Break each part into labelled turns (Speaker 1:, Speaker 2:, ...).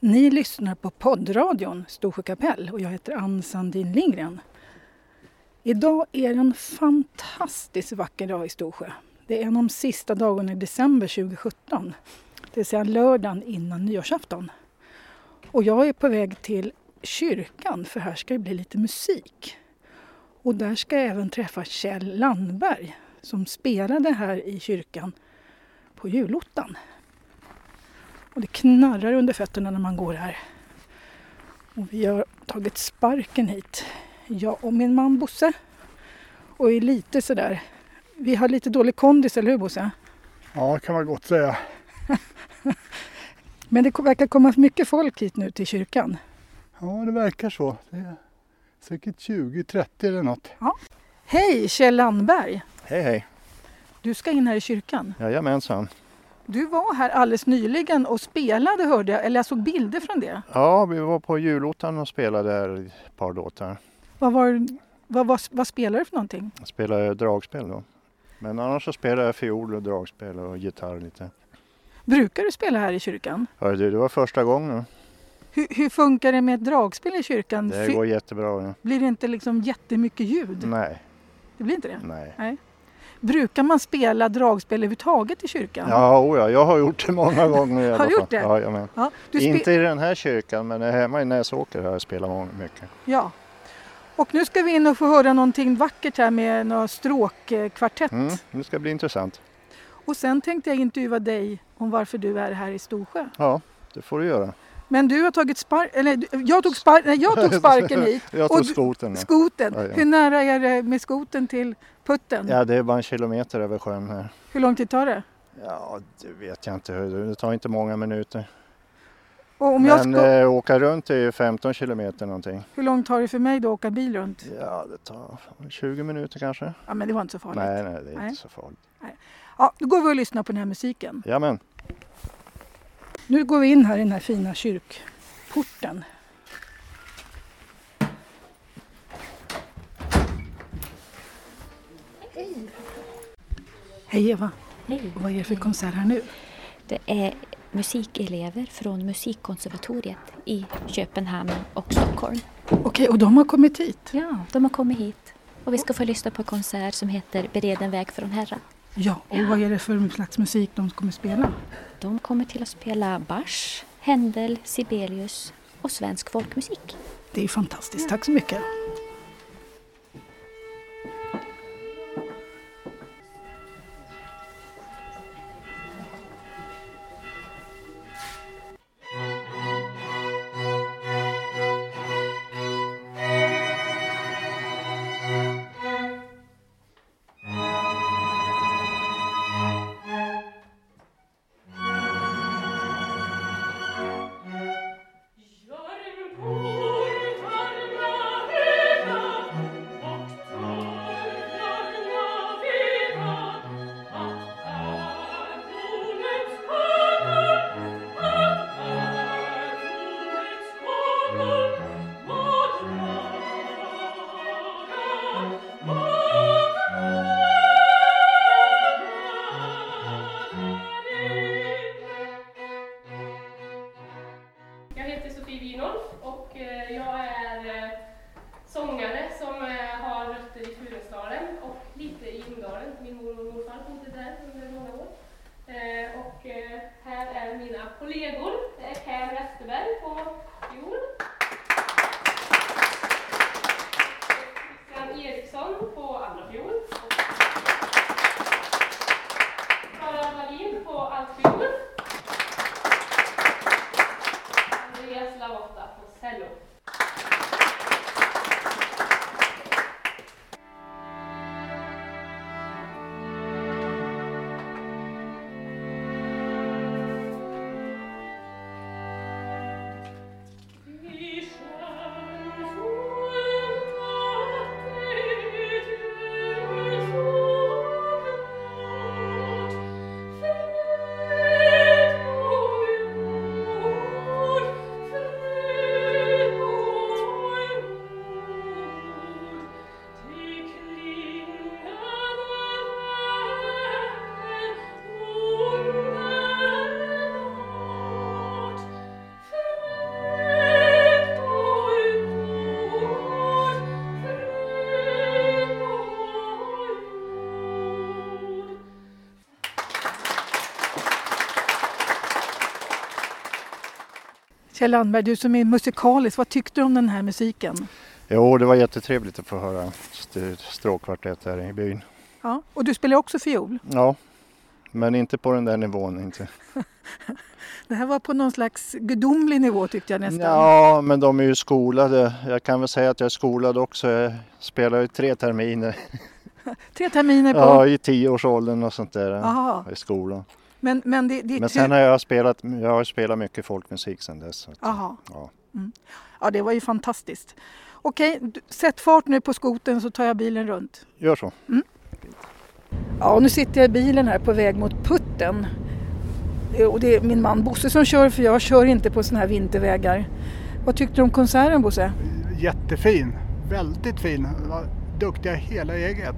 Speaker 1: Ni lyssnar på poddradion Storsjö kapell och jag heter Ann Sandin Lindgren. Idag är det en fantastiskt vacker dag i Storsjö. Det är en av de sista dagarna i december 2017, det vill säga lördagen innan nyårsafton. Och jag är på väg till kyrkan för här ska det bli lite musik. Och där ska jag även träffa Kjell Landberg som spelade här i kyrkan på julottan. Och det knarrar under fötterna när man går här. Och vi har tagit sparken hit, jag och min man Bosse. Och är lite sådär, vi har lite dålig kondis, eller hur Bosse?
Speaker 2: Ja, det kan man gott säga.
Speaker 1: Men det verkar komma mycket folk hit nu till kyrkan.
Speaker 2: Ja, det verkar så. Det är säkert 20-30 eller något.
Speaker 1: Hej Kjell Landberg!
Speaker 3: Hej hej!
Speaker 1: Du ska in här i kyrkan.
Speaker 3: Jajamensan.
Speaker 1: Du var här alldeles nyligen och spelade hörde jag, eller jag såg bilder från det.
Speaker 3: Ja, vi var på julottan och spelade här ett par låtar.
Speaker 1: Vad, var, vad, vad, vad spelade du för någonting?
Speaker 3: Jag spelade dragspel då. Men annars så spelade jag fiol och dragspel och gitarr lite.
Speaker 1: Brukar du spela här i kyrkan?
Speaker 3: Hörru du, det var första gången.
Speaker 1: Hur, hur funkar det med ett dragspel i kyrkan?
Speaker 3: Det
Speaker 1: Fy-
Speaker 3: går jättebra. ja.
Speaker 1: Blir det inte liksom jättemycket ljud?
Speaker 3: Nej,
Speaker 1: Det blir inte det?
Speaker 3: nej.
Speaker 1: Brukar man spela dragspel överhuvudtaget i kyrkan?
Speaker 3: Ja, oja, jag har gjort det många gånger i alla
Speaker 1: Har du
Speaker 3: fall.
Speaker 1: gjort det?
Speaker 3: Ja, jajamän.
Speaker 1: Ja, du spe-
Speaker 3: Inte i den här kyrkan, men hemma i Näsåker har jag spelat många- mycket.
Speaker 1: ja. Och nu ska vi in och få höra någonting vackert här med några stråkkvartett.
Speaker 3: Mm, det ska bli intressant.
Speaker 1: Och sen tänkte jag intervjua dig om varför du är här i Storsjö.
Speaker 3: Ja, det får du göra.
Speaker 1: Men du har tagit spark... Eller du- jag tog, spar- nej, jag tog sparken hit.
Speaker 3: Jag
Speaker 1: Och
Speaker 3: tog
Speaker 1: du-
Speaker 3: skotern. ja.
Speaker 1: Skoten.
Speaker 3: Ja, ja.
Speaker 1: Hur nära är det med skoten till putten?
Speaker 3: Ja, det är bara en kilometer över sjön här.
Speaker 1: Hur lång tid tar det?
Speaker 3: Ja, det vet jag inte. hörru du. Det tar inte många minuter.
Speaker 1: Och om jag
Speaker 3: Men
Speaker 1: ska...
Speaker 3: eh, åka runt är ju 15 kilometer någonting.
Speaker 1: Hur långt tar det för mig då att åka bil runt?
Speaker 3: Ja, det tar 20 minuter kanske.
Speaker 1: Ja, men det var inte så farligt.
Speaker 3: Nej, nej, det är
Speaker 1: Nej.
Speaker 3: inte så farligt.
Speaker 1: Ja, då går vi och lyssnar på den här musiken.
Speaker 3: Jamen.
Speaker 1: Nu går vi in här i den här fina kyrkporten. Hej Eva,
Speaker 4: Hej.
Speaker 1: vad är det för konsert här nu?
Speaker 4: Det är musikelever från musikkonservatoriet i Köpenhamn och Stockholm.
Speaker 1: Okej, och de har kommit hit?
Speaker 4: Ja, de har kommit hit och vi ska få lyssna på en konsert som heter Bered en väg från Herren.
Speaker 1: Ja, och vad är det för slags musik de kommer spela?
Speaker 4: De kommer till att spela Bach, Händel, Sibelius och svensk folkmusik.
Speaker 1: Det är fantastiskt, tack så mycket.
Speaker 5: Jag heter Sofie Winolf och eh, jag är eh, sångare som eh, har rötter i Funäsdalen och lite i Umdalen. Min mormor och morfar bodde där under många år. Eh, Och eh, här är mina kollegor. Det är Per Westerberg på fiol. Christian Eriksson på andra fiol. Och Klara Wallin på altfiol. Andreas Lavotta på cello. Thank you.
Speaker 1: Kjell Landberg, du som är musikalisk, vad tyckte du om den här musiken?
Speaker 3: Jo, det var jättetrevligt att få höra st- stråkkvartett här i byn.
Speaker 1: Ja, och du spelar också fiol.
Speaker 3: Ja, men inte på den där nivån inte.
Speaker 1: Det här var på någon slags gudomlig nivå tyckte jag nästan.
Speaker 3: Ja, men de är ju skolade. Jag kan väl säga att jag är skolad också. Jag spelar ju tre terminer.
Speaker 1: Tre terminer på...
Speaker 3: Ja, i tioårsåldern och sånt där
Speaker 1: Aha.
Speaker 3: i skolan.
Speaker 1: Men, men det, det är
Speaker 3: Men
Speaker 1: tre...
Speaker 3: sen har jag spelat, jag har spelat mycket folkmusik sen dess. Så att,
Speaker 1: Aha.
Speaker 3: ja.
Speaker 1: Mm. Ja, det var ju fantastiskt. Okej, du- sätt fart nu på skoten så tar jag bilen runt.
Speaker 3: Gör så.
Speaker 1: Ja, och nu sitter jag i bilen här på väg mot putten. Eh, Och det är min man Bosse som kör för jag kör inte på sådana här vintervägar. Vad tyckte du om konserten Bosse?
Speaker 6: Jättefin, väldigt fin. Vad Duktiga hela gänget.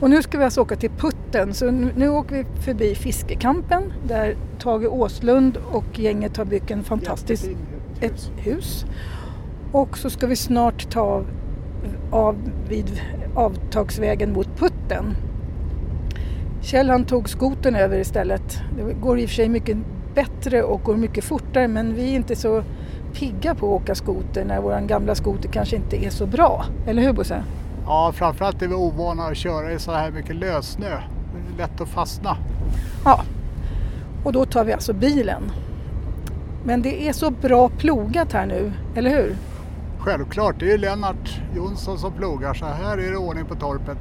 Speaker 1: Och nu ska vi alltså åka till Putten. Så nu, nu åker vi förbi Fiskekampen där Tage Åslund och gänget har byggt en fantastisk ett hus. Och så ska vi snart ta av, av vid avtagsvägen mot putten. Kjell han tog skoten över istället. Det går i och för sig mycket bättre och går mycket fortare men vi är inte så pigga på att åka skoter när vår gamla skoter kanske inte är så bra. Eller hur Bosse?
Speaker 7: Ja, framförallt är vi ovana att köra i så här mycket lössnö. Det är lätt att fastna.
Speaker 1: Och då tar vi alltså bilen. Men det är så bra plogat här nu, eller hur?
Speaker 7: Självklart, det är ju Lennart Jonsson som plogar. Så här är det ordning på torpet.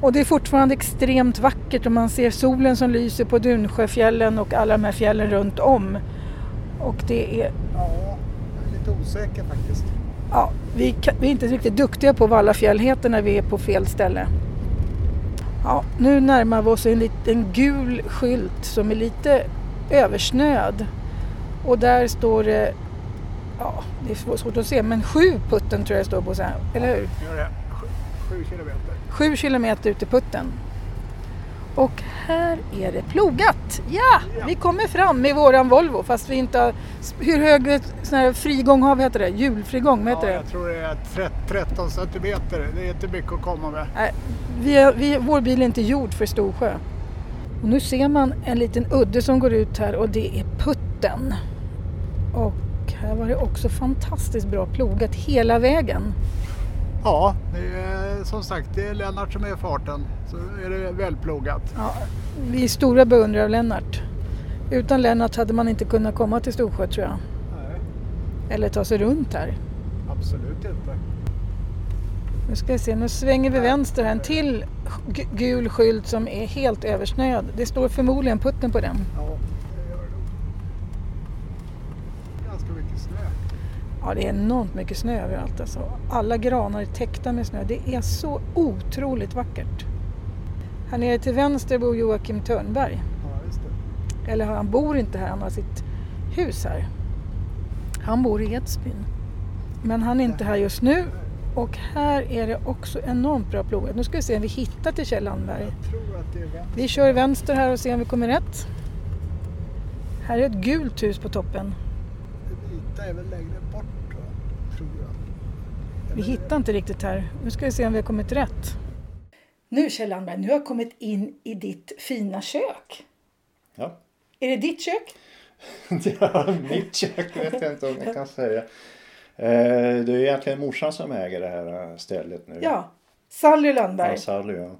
Speaker 1: Och det är fortfarande extremt vackert och man ser solen som lyser på Dunsjöfjällen och alla de här fjällen runt om. Och det är,
Speaker 7: Ja, jag är lite osäker faktiskt.
Speaker 1: ja, vi, kan, vi är inte riktigt duktiga på vad alla fjäll heter när vi är på fel ställe. Ja, nu närmar vi oss en liten gul skylt som är lite översnöad. Och där står det, ja det är svårt att se, men sju putten tror jag det står på så här, eller hur?
Speaker 7: Gör det. Sju, sju kilometer.
Speaker 1: Sju kilometer ut i putten. Och här är det plogat. Ja,
Speaker 7: Ja.
Speaker 1: vi kommer fram med våran Volvo fast vi inte har... Hur hög sån här frigång har vi heter det? Hjulfrigång, vad heter
Speaker 7: ja,
Speaker 1: det?
Speaker 7: jag tror det är tret- 13 centimeter. Det är inte mycket att komma med.
Speaker 1: Vi är, vi, vår bil är inte gjord för Storsjö. Och nu ser man en liten udde som går ut här och det är putten. Och här var det också fantastiskt bra plogat hela vägen.
Speaker 7: Ja, det är, som sagt, det är Lennart som är i farten. Så är det välplogat.
Speaker 1: Ja, vi är stora beundrare av Lennart. Utan Lennart hade man inte kunnat komma till Storsjö tror jag.
Speaker 7: Nej,
Speaker 1: Eller ta sig runt här.
Speaker 7: absolut inte.
Speaker 1: Nu ska vi se, nu svänger vi vänster här. En till gu- gul skylt som är helt översnöad. Det står förmodligen putten på den.
Speaker 7: Ja, det gör det nog. Ganska mycket snö.
Speaker 1: Ja, det är enormt mycket snö överallt alltså. Alla granar är täckta med snö. Det är så otroligt vackert. Här nere till vänster bor Joakim Törnberg.
Speaker 7: Ja, just det.
Speaker 1: Eller han bor inte här, han har sitt hus här. Han bor i Edsbyn. Men han är inte här just nu. Och här är det också enormt bra plogat. Nu ska vi se om vi hittar till Kjell Landberg.
Speaker 7: Jag tror att det är vänster.
Speaker 1: Vi kör vänster här och ser om vi kommer rätt. Här är ett gult hus på toppen.
Speaker 7: Vita är väl längre bort tror jag. Tror jag.
Speaker 1: Vi
Speaker 7: Eller-
Speaker 1: hittar inte riktigt här. Nu ska vi se om vi har kommit rätt. Nu Kjell Landberg, nu har jag kommit in i ditt fina kök.
Speaker 3: Ja.
Speaker 1: Är det ditt kök?
Speaker 3: Ja, mitt kök vet jag inte om jag kan säga. Eh, Det är egentligen morsan som äger det här eh, stället nu.
Speaker 1: Ja. Sally
Speaker 3: Ja,
Speaker 1: Landberg.
Speaker 3: Sally, ja.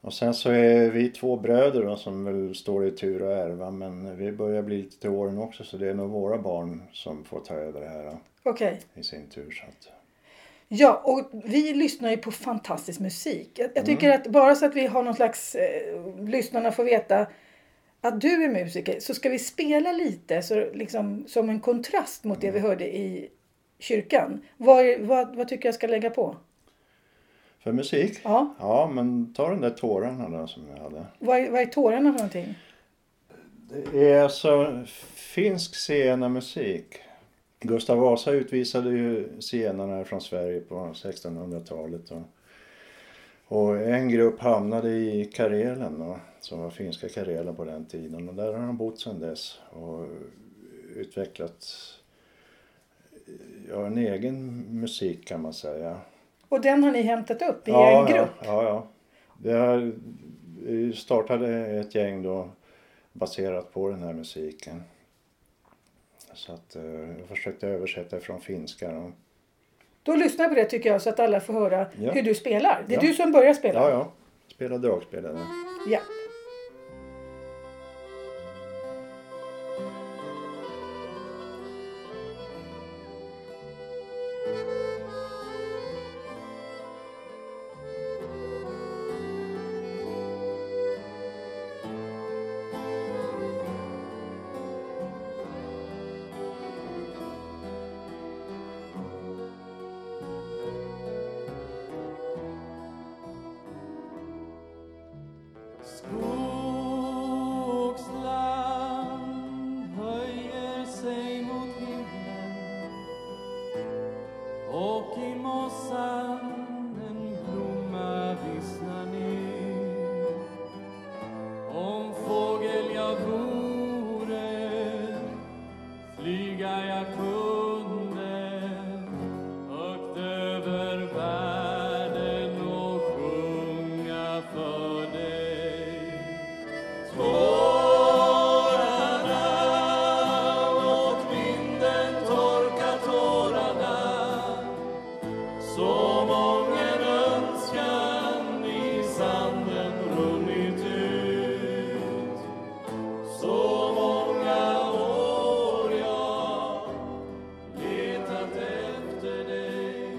Speaker 3: Och sen så är vi två bröder då, som väl står i tur att ärva men vi börjar bli lite till åren också så det är nog våra barn som får ta över det här då,
Speaker 1: Okej.
Speaker 3: i sin tur. Så att,
Speaker 1: Ja, och vi lyssnar ju på fantastisk musik. Jag, jag tycker
Speaker 3: Mm.
Speaker 1: att bara så att vi har någon slags, eh, lyssnarna får veta att du är musiker, så ska vi spela lite så, liksom, som en kontrast mot det vi
Speaker 3: Mm.
Speaker 1: hörde i kyrkan. Vad, är- vad, vad tycker jag ska lägga på?
Speaker 3: för musik?
Speaker 1: Ja,
Speaker 3: Ja, men ta den där tårarna då som jag hade.
Speaker 1: vad, är- vad är tårarna för någonting?
Speaker 3: Det är alltså finsk zigenarmusik. Gustav Vasa utvisade ju zigenarna från Sverige på 1600-talet. Och, och en grupp hamnade i Karelen då, som var finska Karelen på den tiden. Och där har de bott sedan dess och utvecklat ja, en egen musik kan man säga.
Speaker 1: Och den har ni hämtat upp i
Speaker 3: Ja,
Speaker 1: en grupp?
Speaker 3: Ja, ja, ja. Det här vi startade ett gäng då baserat på den här musiken. Så att, eh, jag försökte översätta från finska. Då.
Speaker 1: Då lyssnar jag på det tycker jag så att alla får höra
Speaker 3: Ja.
Speaker 1: hur du spelar. Det är
Speaker 3: Ja.
Speaker 1: du som börjar spela.
Speaker 3: Ja, ja. Spela dragspel eller?
Speaker 1: Ja.
Speaker 8: Skogsland höjer sig mot er himlen och i mossan en blomma vissnar ner. Om fågel jag vore, flyga jag kunde högt över världen och sjunga för dig. Tårarna låt vinden torka tårarna Så mången önskan i sanden runnit ut Så många år jag letat efter dig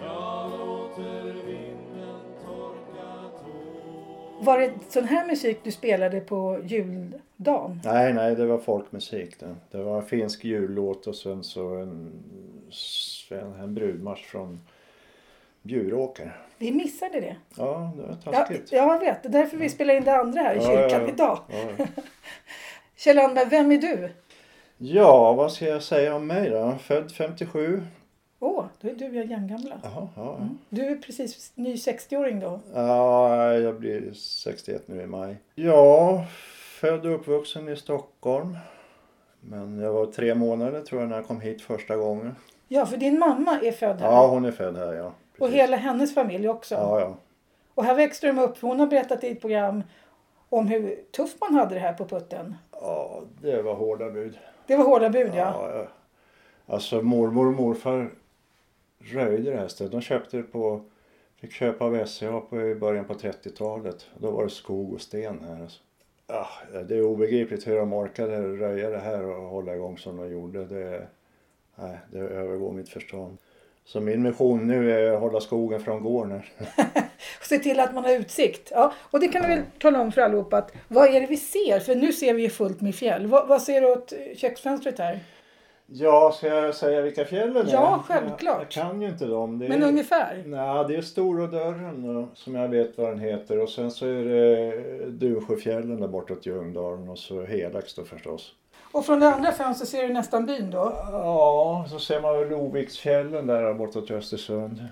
Speaker 8: Jag låter vinden torka tårarna
Speaker 1: Var det sån här musik du spelade på juldagen?
Speaker 3: Nej, nej, det var folkmusik. Det, det var en finsk jullåt och sen så en, en, en brudmarsch från Bjuråker.
Speaker 1: Vi missade det.
Speaker 3: Ja, det var
Speaker 1: Ja,
Speaker 3: taskigt.
Speaker 1: jag vet, det är därför vi spelar in det andra här i
Speaker 3: Ja, ja,
Speaker 1: kyrkan
Speaker 3: ja.
Speaker 1: idag.
Speaker 3: Ja.
Speaker 1: Kjell Andberg, vem är du?
Speaker 3: ja, vad ska jag säga om mig då? Född 57.
Speaker 1: Åh, då är du och jag jämngamla.
Speaker 3: Jaha, ja, ja.
Speaker 1: Du är precis ny 60-åring då.
Speaker 3: Ja, jag blir 61 nu i maj. Ja, född och uppvuxen i Stockholm. Men jag var tre månader tror jag när jag kom hit första gången.
Speaker 1: Ja, för din mamma är född här.
Speaker 3: Ja, hon är född här ja.
Speaker 1: och
Speaker 3: Precis.
Speaker 1: hela hennes familj också.
Speaker 3: Ja, ja.
Speaker 1: Och här växte de upp. Hon har berättat i ett program om hur tufft man hade det här på putten.
Speaker 3: ja, det var hårda bud.
Speaker 1: Det var hårda bud ja.
Speaker 3: Ja, ja. Alltså mormor och morfar röjde det här stället. De köpte det på, fick köpa av SCA på, i början på 30-talet. Då var det skog och sten här. Alltså. Ah, det är obegripligt hur de orkade röja det här och hålla igång som de gjorde. Det, nej, det övergår mitt förstånd. Så min mission nu är att hålla skogen från gården.
Speaker 1: Och se till att man har utsikt. Ja. Och det kan du väl tala om för allihopa att vad är det vi ser? För nu ser vi ju fullt med fjäll. Vad, vad ser du åt köksfönstret här?
Speaker 3: Ja, ska jag säga vilka fjällen
Speaker 1: Ja, självklart.
Speaker 3: Jag, jag kan ju inte dem. Det är-
Speaker 1: Men ungefär.
Speaker 3: Nej, det är Stora dörren då, som jag vet vad den heter och sen så är det Duvsjöfjällen där bortåt Ljungdalen och så Helax då förstås.
Speaker 1: Och från det andra fönstret ser du nästan byn då.
Speaker 3: Ja, så ser man väl Loviksfjällen där bortåt Östersund.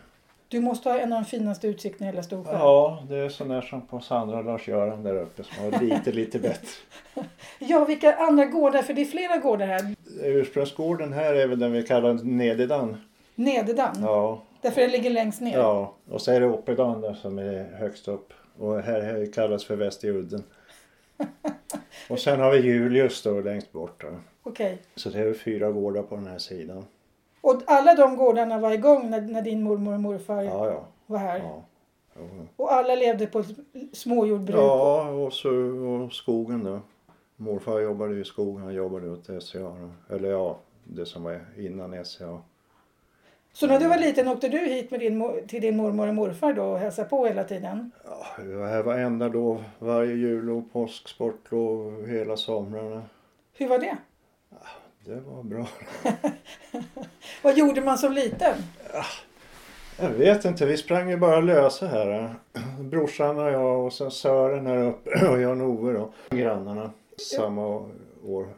Speaker 1: Du måste ha en av de finaste utsikterna i hela Storsjön.
Speaker 3: Ja, det är sån där som på Sandra och Lars-Göran där uppe som har lite, lite bättre.
Speaker 1: ja, vilka andra gårdar? För det är flera gårdar här.
Speaker 3: Ursprungsgården här är väl den vi kallar Nededan.
Speaker 1: Nededan.
Speaker 3: Ja,
Speaker 1: Därför den ligger längst ner.
Speaker 3: ja. och så är det Oppedan där som är högst upp och här, här kallas för Västerjudden. Och sen har vi Julius då längst bort. Då.
Speaker 1: Okej.
Speaker 3: Så det är fyra gårdar på den här sidan.
Speaker 1: Och alla de gårdarna var igång när, när din mormor och morfar
Speaker 3: Ja, ja.
Speaker 1: var här.
Speaker 3: Ja, Jo.
Speaker 1: Och alla levde på ett småjordbruk.
Speaker 3: ja och, så, och skogen då. Morfar jobbade ju i skogen, han jobbade åt SCA. Då. Eller ja, det som var innan E SCA.
Speaker 1: Så när du var liten åkte du hit med din, mo- till din mormor och morfar då och hälsade på hela tiden?
Speaker 3: Ja, vi var här varenda lov, varje jullov, påsk, sportlov, hela somrarna.
Speaker 1: Hur var det?
Speaker 3: Det var bra.
Speaker 1: Vad gjorde man som liten?
Speaker 3: Jag vet inte, vi sprang ju bara lösa här. eh. Brorsan och jag och sen Sören här uppe och Jan-Ove då. Grannarna. Samma år,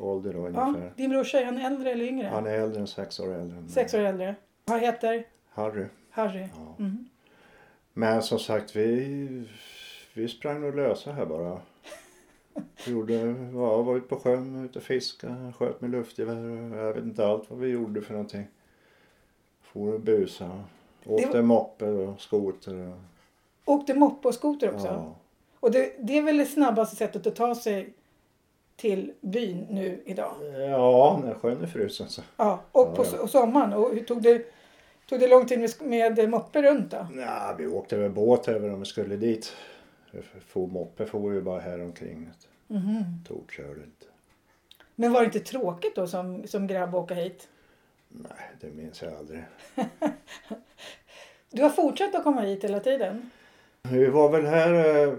Speaker 3: ålder då
Speaker 1: Ja,
Speaker 3: ungefär.
Speaker 1: din brorsa, är han äldre eller yngre?
Speaker 3: Han är äldre än sex år äldre än mig.
Speaker 1: Sex år äldre. Han heter
Speaker 3: Harry.
Speaker 1: Harry.
Speaker 3: Ja.
Speaker 1: Mm.
Speaker 3: Men som sagt, vi, vi sprang nog lösa här bara. Vi gjorde, ja, var ute på sjön, ute och fiskade, sköt med luftgevär. Jag vet inte allt vad vi gjorde för någonting. For och busa. Åkte moppe och skoter. Och,
Speaker 1: Åkte moppe och skoter också?
Speaker 3: ja.
Speaker 1: Och det, det är väl det snabbaste sättet att ta sig till byn nu idag?
Speaker 3: Ja, när sjön är frusen så.
Speaker 1: Ja, och på
Speaker 3: Ja, ja.
Speaker 1: so- och sommaren. Och hur tog det, tog det lång tid med, sk- med moppe runt då?
Speaker 3: Nja, vi åkte med båt över om vi skulle dit. For, moppe for ju bara häromkring.
Speaker 1: Mhm.
Speaker 3: Tokkörde inte.
Speaker 1: Men var det inte tråkigt då som, som grabb att åka hit?
Speaker 3: Nej, det minns jag aldrig.
Speaker 1: Du har fortsatt att komma hit hela tiden?
Speaker 3: Vi var väl här eh,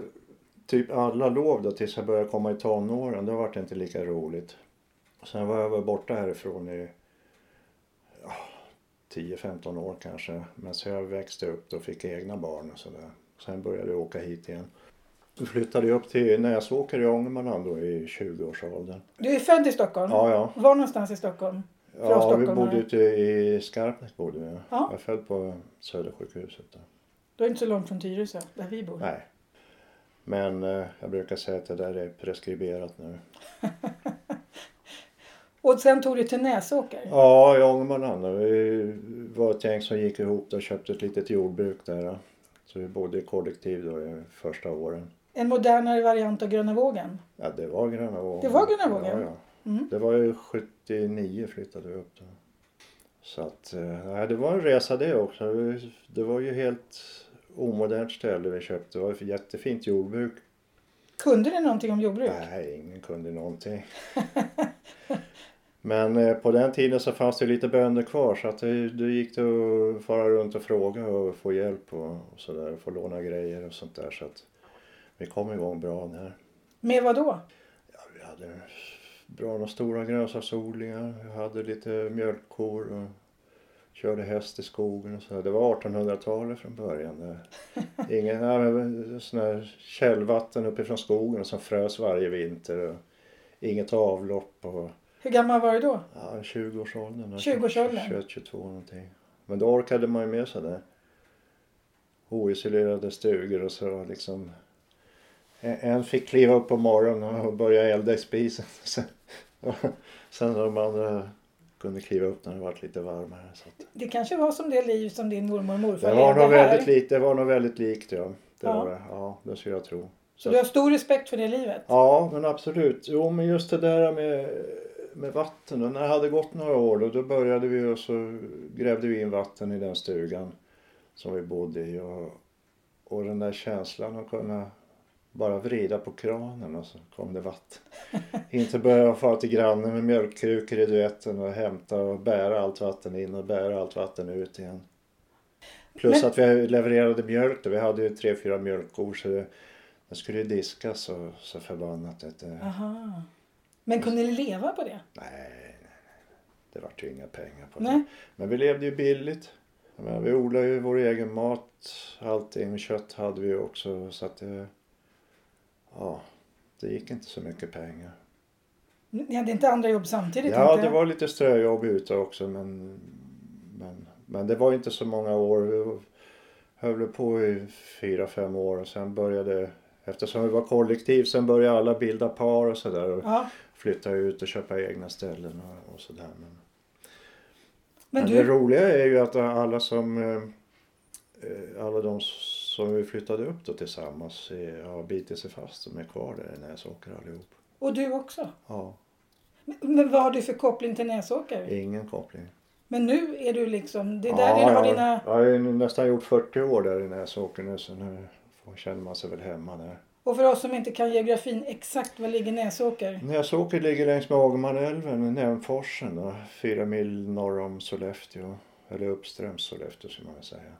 Speaker 3: typ alla lov då tills jag började komma i tonåren. Då var det inte lika roligt. Sen var jag väl borta härifrån i ja, 10-15 år kanske. Men så jag växte upp och fick egna barn och sådär. Sen började jag åka hit igen. Då flyttade jag upp till Näsåker i Ångermanland då i 20-årsåldern.
Speaker 1: Du är född i Stockholm?
Speaker 3: Ja, ja.
Speaker 1: Var någonstans i Stockholm? Från
Speaker 3: Ja, vi
Speaker 1: Stockholm,
Speaker 3: bodde
Speaker 1: eller?
Speaker 3: ute i Skarpnäck bodde vi.
Speaker 1: Ja.
Speaker 3: Jag föll på Södersjukhuset där.
Speaker 1: Du är inte så långt från Tyresö, där vi bor.
Speaker 3: Nej. Men eh, jag brukar säga att det där är preskriberat nu.
Speaker 1: Och sen tog du till Näsåker?
Speaker 3: Ja, i Ångermanland. då. Vi var ett gäng som gick ihop och köpte ett litet jordbruk där. då. Så vi bodde i kollektiv då i första åren.
Speaker 1: En modernare variant av Gröna vågen?
Speaker 3: Ja, det var Gröna vågen.
Speaker 1: Det var Gröna vågen?
Speaker 3: Ja, ja.
Speaker 1: Mm.
Speaker 3: Det var ju 79 flyttade vi upp då. Så att, eh, nej, det var en resa det också. Vi- Det var ju helt omodernt ställe vi köpte. Det var ett jättefint jordbruk.
Speaker 1: Kunde du någonting om jordbruk?
Speaker 3: Nej, ingen kunde någonting. Men eh, på den tiden så fanns det lite bönder kvar så att det, det gick det att fara runt och fråga och få hjälp och, och sådär. Få låna grejer och sånt där så att vi kom igång bra där.
Speaker 1: Med vad då?
Speaker 3: Ja, vi hade bra några stora grönsaksodlingar. Vi hade lite mjölkkor och körde häst i skogen och sådär. Det var 1800-talet från början. Där. Ingen, nej, men sån här källvatten uppifrån skogen som frös varje vinter. Och inget avlopp och
Speaker 1: Hur gammal var du då?
Speaker 3: ja, 20-årsåldern.
Speaker 1: 20-årsåldern.
Speaker 3: 21, 22 någonting. Men då orkade man ju med sig det. Oisolerade stugor och så liksom. En- En fick kliva upp på morgonen och börja elda i spisen. Sen, sen de andra kunde kliva upp när det var lite varmare. Så att,
Speaker 1: Det kanske var som det liv som din mormor och morfar
Speaker 3: det, var
Speaker 1: levde
Speaker 3: nog
Speaker 1: här.
Speaker 3: väldigt likt, det var nog väldigt likt ja. Det
Speaker 1: Ja.
Speaker 3: var det. Ja, det skulle jag tro.
Speaker 1: Så du har stor respekt för det livet?
Speaker 3: Ja, men absolut. Jo, men just det där med, med vatten. Och när det hade gått några år då, då började vi och så grävde vi in vatten i den stugan som vi bodde i. Och, och den där känslan att kunna bara vrida på kranen och så kom det vatten. Inte behöva fara till grannen med mjölkkrukor i duetten och hämta och bära allt vatten in och bära allt vatten ut igen. Plus
Speaker 1: Men-
Speaker 3: att vi levererade mjölk då. Vi hade ju tre, fyra mjölkkor så det, det skulle ju diskas så, så förbannat. Att det,
Speaker 1: Aha. Men kunde ni leva på det?
Speaker 3: Nej, nej, nej. Det vart ju inga pengar på
Speaker 1: Nej.
Speaker 3: det. Men vi levde ju billigt. Jag menar, vi odlade ju vår egen mat. Allting. Kött hade vi ju också. Så att det... Ja, det gick inte så mycket pengar.
Speaker 1: Ni hade inte andra jobb samtidigt?
Speaker 3: Ja,
Speaker 1: inte?
Speaker 3: det var lite ströjobb ute också men... Men, men det var inte så många år. Vi höll på i fyra, fem år och sen började... Eftersom vi var kollektiv sen började alla bilda par och sådär. och
Speaker 1: Ja.
Speaker 3: Flytta ut och köpa egna ställen och, och sådär. Men...
Speaker 1: Men
Speaker 3: Men
Speaker 1: du,
Speaker 3: Det roliga är ju att alla som eh, eh, alla de som vi flyttade upp då tillsammans eh, har bitit sig fast. De är kvar där i Näsåker allihop.
Speaker 1: och du också.
Speaker 3: Ja,
Speaker 1: Men, men vad har du för koppling till Näsåker?
Speaker 3: ingen koppling.
Speaker 1: Men nu är du liksom, det är där
Speaker 3: ja,
Speaker 1: du har
Speaker 3: jag,
Speaker 1: dina...
Speaker 3: jag har ju nästan gjort 40 år där i Näsåker nu så nu får- känner man sig väl hemma där.
Speaker 1: Och för oss som inte kan geografin, exakt var ligger Näsåker?
Speaker 3: Näsåker ligger längs med Ångermanälven, i Nämforsen då. Fyra mil norr om Sollefteå. Eller uppströms Sollefteå som man väl säga.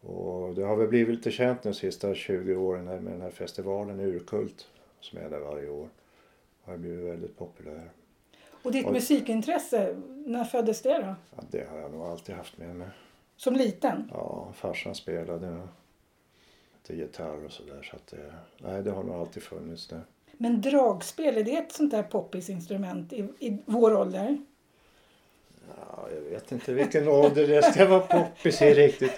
Speaker 3: Och det har väl blivit lite känt de sista 20 åren här med den här festivalen Urkult som är där varje år. Har ju blivit väldigt populär.
Speaker 1: Och ditt
Speaker 3: Oj.
Speaker 1: musikintresse, när föddes det då?
Speaker 3: Ja, det har jag nog alltid haft med mig.
Speaker 1: Som liten?
Speaker 3: Ja, farsan spelade lite gitarr och sådär så att det, nej, det har nog alltid funnits där.
Speaker 1: Men dragspel, är det ett sånt där poppisinstrument i, i vår ålder?
Speaker 3: Ja, jag vet inte vilken ålder det ska vara poppis i riktigt.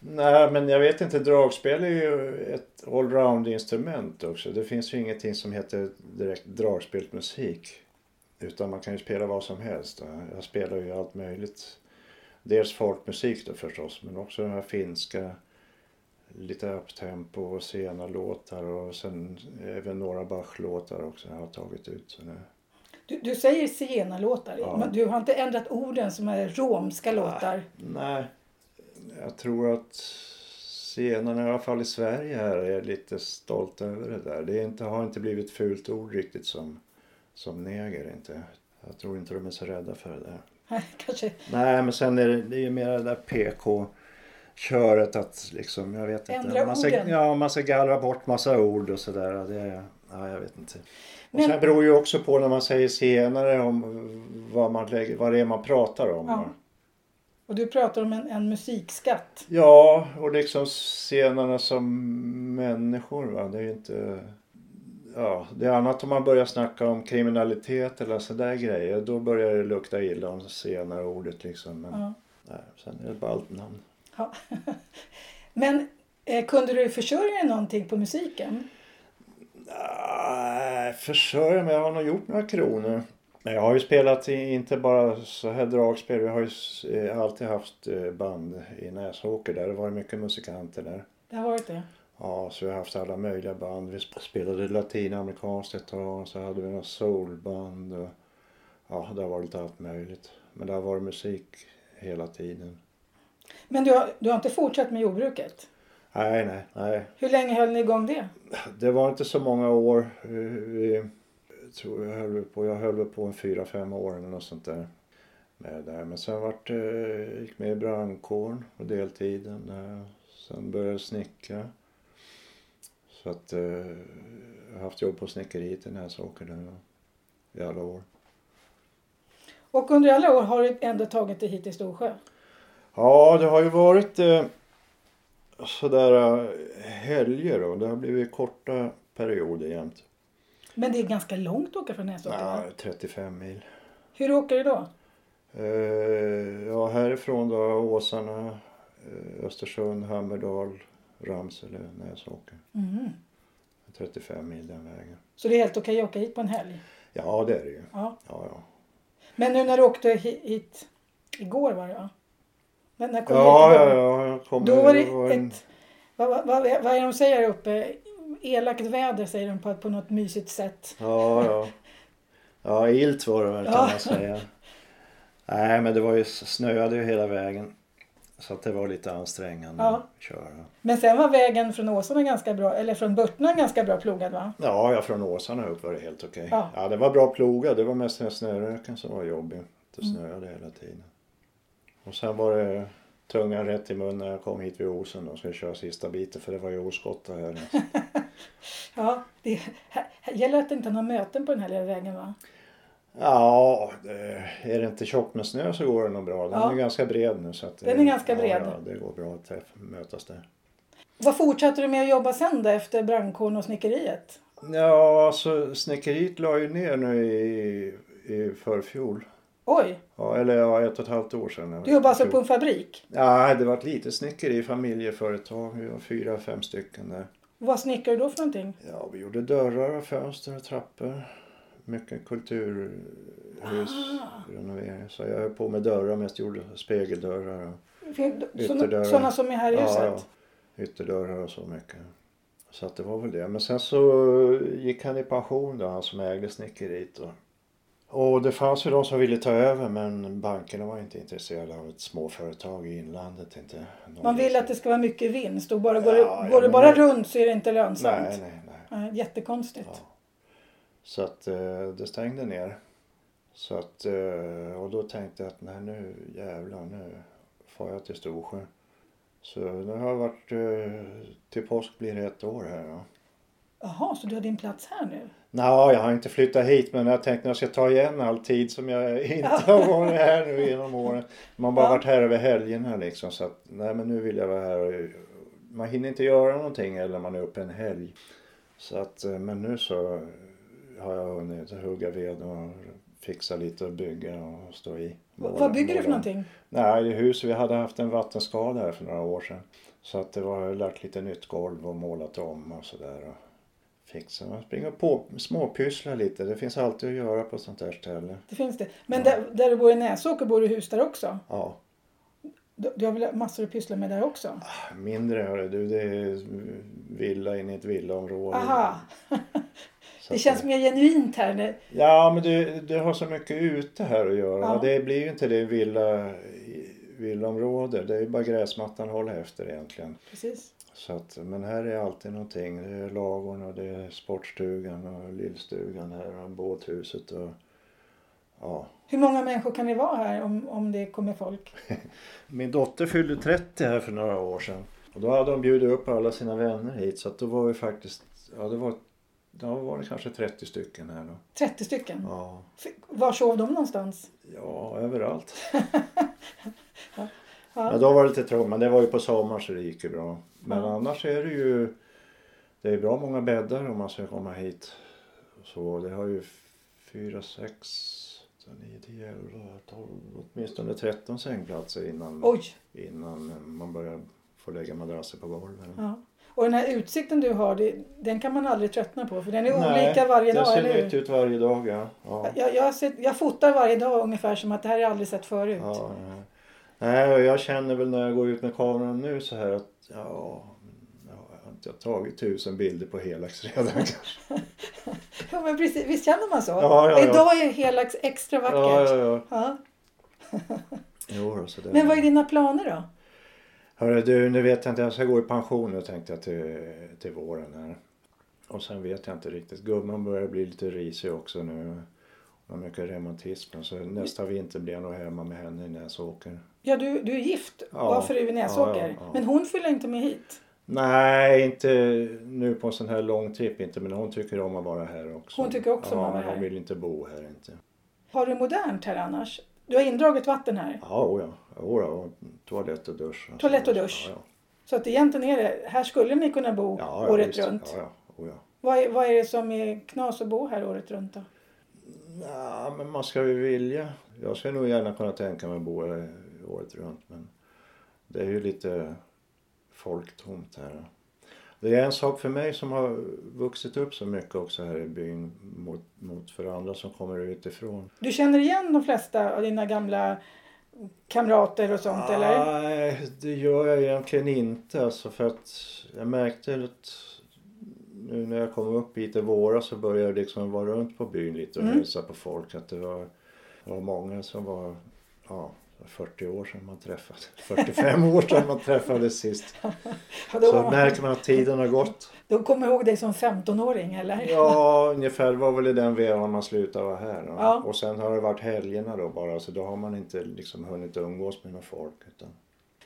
Speaker 3: Nej, men jag vet inte. Dragspel är ju ett allround-instrument också. Det finns ju ingenting som heter direkt dragspelsmusik. Utan man kan ju spela vad som helst. Jag spelar ju allt möjligt. Dels folkmusik då förstås, men också den här finska lite upptempo och sena låtar och sen även några Bach-låtar också har jag tagit ut. Så det,
Speaker 1: Du, du säger zigenarlåtar,
Speaker 3: Ja.
Speaker 1: men du har inte ändrat orden som är romska låtar.
Speaker 3: nej, jag tror att scenerna i alla fall i Sverige här är lite stolt över det där. Det är inte, har inte blivit ett fult ord riktigt som, som neger inte. Jag tror inte de är så rädda för det där.
Speaker 1: Kanske.
Speaker 3: Nej, men sen är det, det är ju mer det där PK-köret att liksom, jag vet inte.
Speaker 1: Ändra
Speaker 3: man ska,
Speaker 1: orden.
Speaker 3: Ja, man ska gallra bort massa ord och sådär. Det, ja, jag vet inte. Och
Speaker 1: Men-
Speaker 3: sen beror ju också på när man säger senare om vad, man lägger, vad det är man pratar om.
Speaker 1: Ja. Och du pratar om en, en musikskatt.
Speaker 3: Ja, och liksom scenerna som människor. Va? Det är ju inte... Ja, det är annat om man börjar snacka om kriminalitet eller sådär grejer. Då börjar det lukta illa om senare ordet liksom. Men,
Speaker 1: Ja.
Speaker 3: nej, sen är det bara allt namn.
Speaker 1: Ja. Men eh, kunde du försörja dig någonting på musiken?
Speaker 3: Nej, försörja mig. Jag har nog gjort några kronor. Men jag har ju spelat i, inte bara så här dragspel. Vi har ju s- eh, alltid haft eh, band i Näsåker där. Det var ju mycket musikanter där.
Speaker 1: Det har varit det.
Speaker 3: Ja, så vi har haft alla möjliga band. Vi sp- spelade latinamerikanskt ett tag. Så hade vi några soulband. Och, ja, det har varit lite allt möjligt. Men det har varit musik hela tiden.
Speaker 1: Men du har, du har inte fortsatt med jordbruket?
Speaker 3: Nej, nej, nej.
Speaker 1: Hur länge höll ni igång det?
Speaker 3: Det var inte så många år. Vi, vi, jag tror jag höll på, jag höll väl på en fyra, fem år eller något sånt där. Med det där. Men sen vart, eh, gick med i brandkåren och deltiden. Där. Sen började jag snickra. Så att eh, jag har haft jobb på snickeriet i Näsåker nu i alla år.
Speaker 1: Och under alla år har du ändå tagit dig hit till Storsjö?
Speaker 3: Ja, det har ju varit eh, sådär eh, helger och det har blivit korta perioder jämt.
Speaker 1: Men det är ganska långt att åka från Näsåker.
Speaker 3: Ja,
Speaker 1: va?
Speaker 3: 35 mil.
Speaker 1: Hur åker du då?
Speaker 3: Eh, ja, härifrån då Åsarna, eh, Östersund, Hammerdal, Ramsele, Näsåker.
Speaker 1: Mhm.
Speaker 3: 35 mil den vägen.
Speaker 1: Så det är helt okej att åka hit på en helg?
Speaker 3: Ja, det är det ju.
Speaker 1: Ja.
Speaker 3: Ja, ja.
Speaker 1: Men nu när du åkte hi- hit igår var det va? När, när kom
Speaker 3: ja,
Speaker 1: du hit
Speaker 3: ja,
Speaker 1: igår?
Speaker 3: ja jag kommer...
Speaker 1: Då var det
Speaker 3: en-
Speaker 1: ett... Vad, vad, vad, vad är det de säger här uppe? Elakt väder säger de på, på något mysigt sätt.
Speaker 3: Ja, ja. Ja, ilt var det väl kan
Speaker 1: Ja.
Speaker 3: man säga. Nej, men det var ju snöade ju hela vägen. Så att det var lite ansträngande
Speaker 1: Ja.
Speaker 3: att köra.
Speaker 1: Men sen var vägen från Åsarna ganska bra, eller från Burtna ganska bra plogad va?
Speaker 3: Ja, ja från Åsarna upp var det helt okej.
Speaker 1: Ja.
Speaker 3: Ja. det var bra ploga. Det var mest den här snöröken som var jobbig. Det
Speaker 1: Mm.
Speaker 3: snöade hela tiden. Och sen var det tungan rätt i mun när jag kom hit vid Osen och skulle köra sista biten för det var ju oskotta här.
Speaker 1: Ja, det här, här gäller att det inte är några möten på den här lilla vägen va?
Speaker 3: Ja, det- är det inte tjockt med snö så går det nog bra. Den
Speaker 1: Ja.
Speaker 3: är ganska bred nu. Så att det-
Speaker 1: Den är ganska bred.
Speaker 3: Ja, ja, det går bra att träff- mötas där.
Speaker 1: Vad fortsatte du med att jobba sen då efter brandkåren och snickeriet?
Speaker 3: Ja, alltså snickeriet la ju ner nu i, i förfjol.
Speaker 1: Oj,
Speaker 3: Ja, eller ja, ett och ett halvt år sedan.
Speaker 1: du jobbade alltså på en fabrik?
Speaker 3: Ja, det var ett litet snickeri, familjeföretag. Vi var fyra, fem stycken där.
Speaker 1: Vad snickrar du då för någonting?
Speaker 3: Ja, vi gjorde dörrar och fönster och trappor. Mycket
Speaker 1: Ah.
Speaker 3: kulturhusrenovering. Så jag höll på med dörrar mest, gjorde spegeldörrar och Ytterdörrar.
Speaker 1: Sådana som är här i huset?
Speaker 3: ja. Ytterdörrar och så mycket. Så att det var väl det. Men sen så gick han i pension då, han som ägde snickeriet. Och, och det fanns ju de som ville ta över men bankerna var inte intresserade av ett småföretag i inlandet. Inte. De
Speaker 1: Man vill att det ska vara mycket vinst och bara, går, det,
Speaker 3: Ja, ja,
Speaker 1: går det
Speaker 3: men-
Speaker 1: bara runt så är det inte lönsamt.
Speaker 3: Nej, nej, nej.
Speaker 1: Nej, Jättekonstigt.
Speaker 3: Ja. Så att eh, det stängde ner. Så att, eh, och då tänkte jag att nej nu jävlar nu far jag till Storsjö. Så nu har jag varit, eh, till påsk blir det ett år här. Ja.
Speaker 1: Jaha, så du har din plats här nu?
Speaker 3: Nå, jag har inte flyttat hit men jag tänkte att jag ska ta igen all tid som jag inte har varit här nu genom åren. Man har bara
Speaker 1: Ja.
Speaker 3: varit här över helgerna liksom så att nej men nu vill jag vara här och man hinner inte göra någonting eller man är uppe en helg. Så att eh, men nu så har jag hunnit hugga ved och fixa lite och bygga och stå i.
Speaker 1: V-
Speaker 3: Måla-
Speaker 1: Vad bygger du för
Speaker 3: måla.
Speaker 1: någonting?
Speaker 3: Nej, i huset. Vi hade haft en vattenskada här för några år sedan. Så att det var lagt lite nytt golv och målat om och sådär. och Fixat. Man springer på småpysslar lite. Det finns alltid att göra på ett sånt här ställe.
Speaker 1: Det finns det. Men där, där du bor i Näsåker bor du i hus där också?
Speaker 3: Ja.
Speaker 1: Du, du har väl massor att pyssla med där också?
Speaker 3: Mindre hörru du, det är villa in i ett villaområde.
Speaker 1: Aha!
Speaker 3: Så
Speaker 1: Det
Speaker 3: att
Speaker 1: känns mer genuint här nu.
Speaker 3: Ja, men du, du har så mycket ute här att göra.
Speaker 1: Ja.
Speaker 3: Och det blir ju inte det villa, villaområde. Det är ju bara gräsmattan att hålla efter egentligen.
Speaker 1: Precis.
Speaker 3: Så att, men här är alltid någonting. Det är lagorna, och det är sportstugan och lillstugan här och båthuset och ja.
Speaker 1: Hur många människor kan det vara här om, om det kommer folk?
Speaker 3: Min dotter fyllde 30 här för några år sedan. Och då hade hon bjudit upp alla sina vänner hit så att då var vi faktiskt, ja det var, då var det kanske 30 stycken här då.
Speaker 1: 30 stycken?
Speaker 3: Ja,
Speaker 1: F- Var sov de någonstans?
Speaker 3: ja överallt.
Speaker 1: Ja.
Speaker 3: Ja, då var det lite trångt, men det var ju på sommaren så det gick ju bra. Men
Speaker 1: Ja.
Speaker 3: annars är det ju... Det är bra många bäddar om man ska komma hit. Så det har ju fyra, sex, åtta, nio, tio, elva, tolv, åtminstone 13 sängplatser innan,
Speaker 1: Oj!
Speaker 3: innan man börjar få lägga madrasser på golven.
Speaker 1: Ja. Och den här utsikten du har, det, den kan man aldrig tröttna på för den är
Speaker 3: Nej,
Speaker 1: olika varje
Speaker 3: Det
Speaker 1: dag,
Speaker 3: ser
Speaker 1: eller
Speaker 3: nytt
Speaker 1: hur?
Speaker 3: ut varje dag, ja. ja.
Speaker 1: Jag, jag, ser, jag fotar varje dag ungefär som att det här har jag aldrig sett förut.
Speaker 3: Ja, ja. Nej, och jag känner väl när jag går ut med kameran nu så här att ja, jag har inte tagit tusen bilder på Helax redan.
Speaker 1: Ja, men precis, visst känner man så?
Speaker 3: Ja, ja, ja.
Speaker 1: Idag är hela ex- extra vackert.
Speaker 3: Ja, ja, ja.
Speaker 1: Ja.
Speaker 3: Jo, då, så det...
Speaker 1: Men vad är dina planer då?
Speaker 3: Hörru du, nu vet jag inte. Jag ska gå i pension nu tänkte jag till, till våren här. Och sen vet jag inte riktigt. Gumman börjar bli lite risig också nu. Hon har mycket reumatism. Så nästa vinter blir jag nog hemma med henne i Näsåker.
Speaker 1: Ja, du, du är gift
Speaker 3: Ja.
Speaker 1: och har fru i Näsåker.
Speaker 3: Ja, ja, ja.
Speaker 1: Men hon följer inte med hit.
Speaker 3: Nej, inte nu på en sån här lång trip inte. Men hon tycker om att vara här också.
Speaker 1: Hon tycker också om
Speaker 3: ja,
Speaker 1: att vara
Speaker 3: men hon
Speaker 1: här.
Speaker 3: vill inte bo här inte.
Speaker 1: Har du modernt här annars? Du har indraget vatten här.
Speaker 3: Ja, oh ja. Oh ja. och Toalett och dusch. Alltså,
Speaker 1: Toalett och dusch.
Speaker 3: Ja, ja.
Speaker 1: Så att egentligen är det, här skulle ni kunna bo
Speaker 3: ja, ja
Speaker 1: året
Speaker 3: visst.
Speaker 1: runt.
Speaker 3: Ja, ja. Oh ja.
Speaker 1: Vad, är, vad är det som är knas att bo här året runt då?
Speaker 3: Ja, men man ska ju vilja. Jag skulle nog gärna kunna tänka mig att bo här året runt men det är ju lite folktomt här. Det är en sak för mig som har vuxit upp så mycket också här i byn mot, mot för andra som kommer utifrån.
Speaker 1: Du känner igen de flesta av dina gamla kamrater och sånt
Speaker 3: Ah,
Speaker 1: eller?
Speaker 3: Nej, det gör jag egentligen inte alltså för att jag märkte att nu när jag kom upp hit i våras så började jag liksom vara runt på byn lite och
Speaker 1: Mm.
Speaker 3: hälsa på folk att det var, det var många som var ja, 40 år sedan man träffades, 45 år sedan man träffades sist.
Speaker 1: Ja,
Speaker 3: Så
Speaker 1: då,
Speaker 3: märker man att tiden har gått.
Speaker 1: då kommer jag ihåg dig som 15-åring eller?
Speaker 3: Ja, ungefär var väl i den vevan man slutade vara här. Då.
Speaker 1: Ja.
Speaker 3: Och sen har det varit helgerna då bara så då har man inte liksom hunnit umgås med några folk. Utan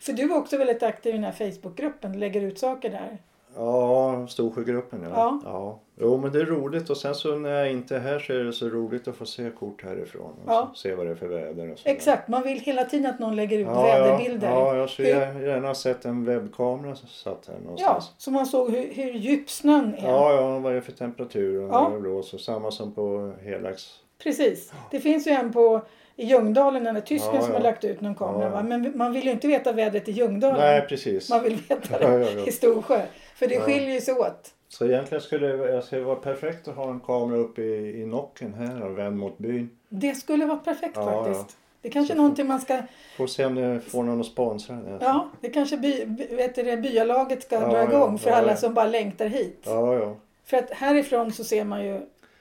Speaker 1: För du är också väldigt aktiv i den här Facebookgruppen, lägger ut saker där.
Speaker 3: Ja, Storsjögruppen ja.
Speaker 1: Ja.
Speaker 3: ja. ja. Jo men det är roligt och sen så när jag inte är här så är det så roligt att få se kort härifrån och
Speaker 1: Ja.
Speaker 3: så, se vad det är för väder och så.
Speaker 1: Exakt, man vill hela tiden att någon lägger ut
Speaker 3: eh, Ja,
Speaker 1: väderbilder.
Speaker 3: Ja, ja, jag skulle
Speaker 1: Hur-
Speaker 3: gär- gärna ha sett en webbkamera som satt här
Speaker 1: Ja,
Speaker 3: någonstans.
Speaker 1: så man såg hur, hur djup snön är.
Speaker 3: Ja, ja, vad är det för temperatur och
Speaker 1: Ja.
Speaker 3: när det blåser. Samma som på Helax.
Speaker 1: Precis. Det finns ju en på i Ljungdalen, den där tysken
Speaker 3: Ja,
Speaker 1: som har
Speaker 3: ja.
Speaker 1: lagt ut någon kamera.
Speaker 3: Ja, ja.
Speaker 1: Va? Men man vill ju inte veta vädret i Ljungdalen.
Speaker 3: Nej, precis.
Speaker 1: Man vill veta det
Speaker 3: Ja, ja, ja.
Speaker 1: i Storsjö. För det
Speaker 3: Ja.
Speaker 1: skiljer ju sig åt.
Speaker 3: Så egentligen skulle det- jag skulle vara perfekt att ha en kamera uppe i, i nocken här och vänd mot byn.
Speaker 1: Det skulle vara perfekt
Speaker 3: Ja, ja.
Speaker 1: faktiskt. Det kanske är
Speaker 3: Så-
Speaker 1: någonting man ska...
Speaker 3: Får se om det får någon att sponsra. det.
Speaker 1: Ja, det kanske by, by, vet du det, byalaget ska
Speaker 3: Ja,
Speaker 1: dra
Speaker 3: ja,
Speaker 1: igång för
Speaker 3: ja,
Speaker 1: alla
Speaker 3: ja.
Speaker 1: som bara längtar hit.
Speaker 3: ja, ja.
Speaker 1: För att härifrån så ser man ju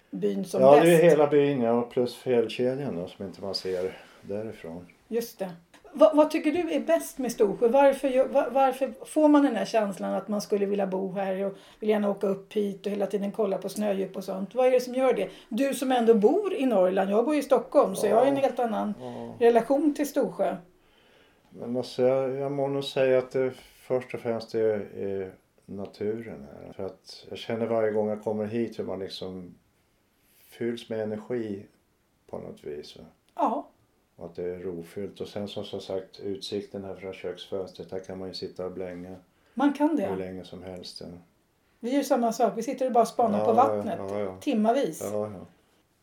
Speaker 1: byn som
Speaker 3: ja,
Speaker 1: bäst.
Speaker 3: det är hela byn ja, och plus fjällkedjan då, som inte man ser därifrån.
Speaker 1: Just det. Vad, vad tycker du är bäst med Storsjö? Varför, gör- va- varför får man den här känslan att man skulle vilja bo här och vill gärna åka upp hit och hela tiden kolla på snödjup och sånt? Vad är det som gör det? Du som ändå bor i Norrland, jag bor i Stockholm så jag har en helt annan relation till Storsjö.
Speaker 3: Men alltså, jag, jag må nog säga att det först och främst är, är naturen här. För att jag känner varje gång jag kommer hit hur man liksom fylls med energi på något vis. Va?
Speaker 1: Ja,
Speaker 3: Och att det är rofyllt. Och sen som, som sagt utsikten här från köksfönstret. Här kan man ju sitta och blänga
Speaker 1: man kan
Speaker 3: hur
Speaker 1: det.
Speaker 3: länge som helst. Ja,
Speaker 1: Vi gör samma sak, vi sitter och bara spanar
Speaker 3: Ja,
Speaker 1: på
Speaker 3: ja,
Speaker 1: vattnet
Speaker 3: ja, ja.
Speaker 1: timmavis.
Speaker 3: ja. ja.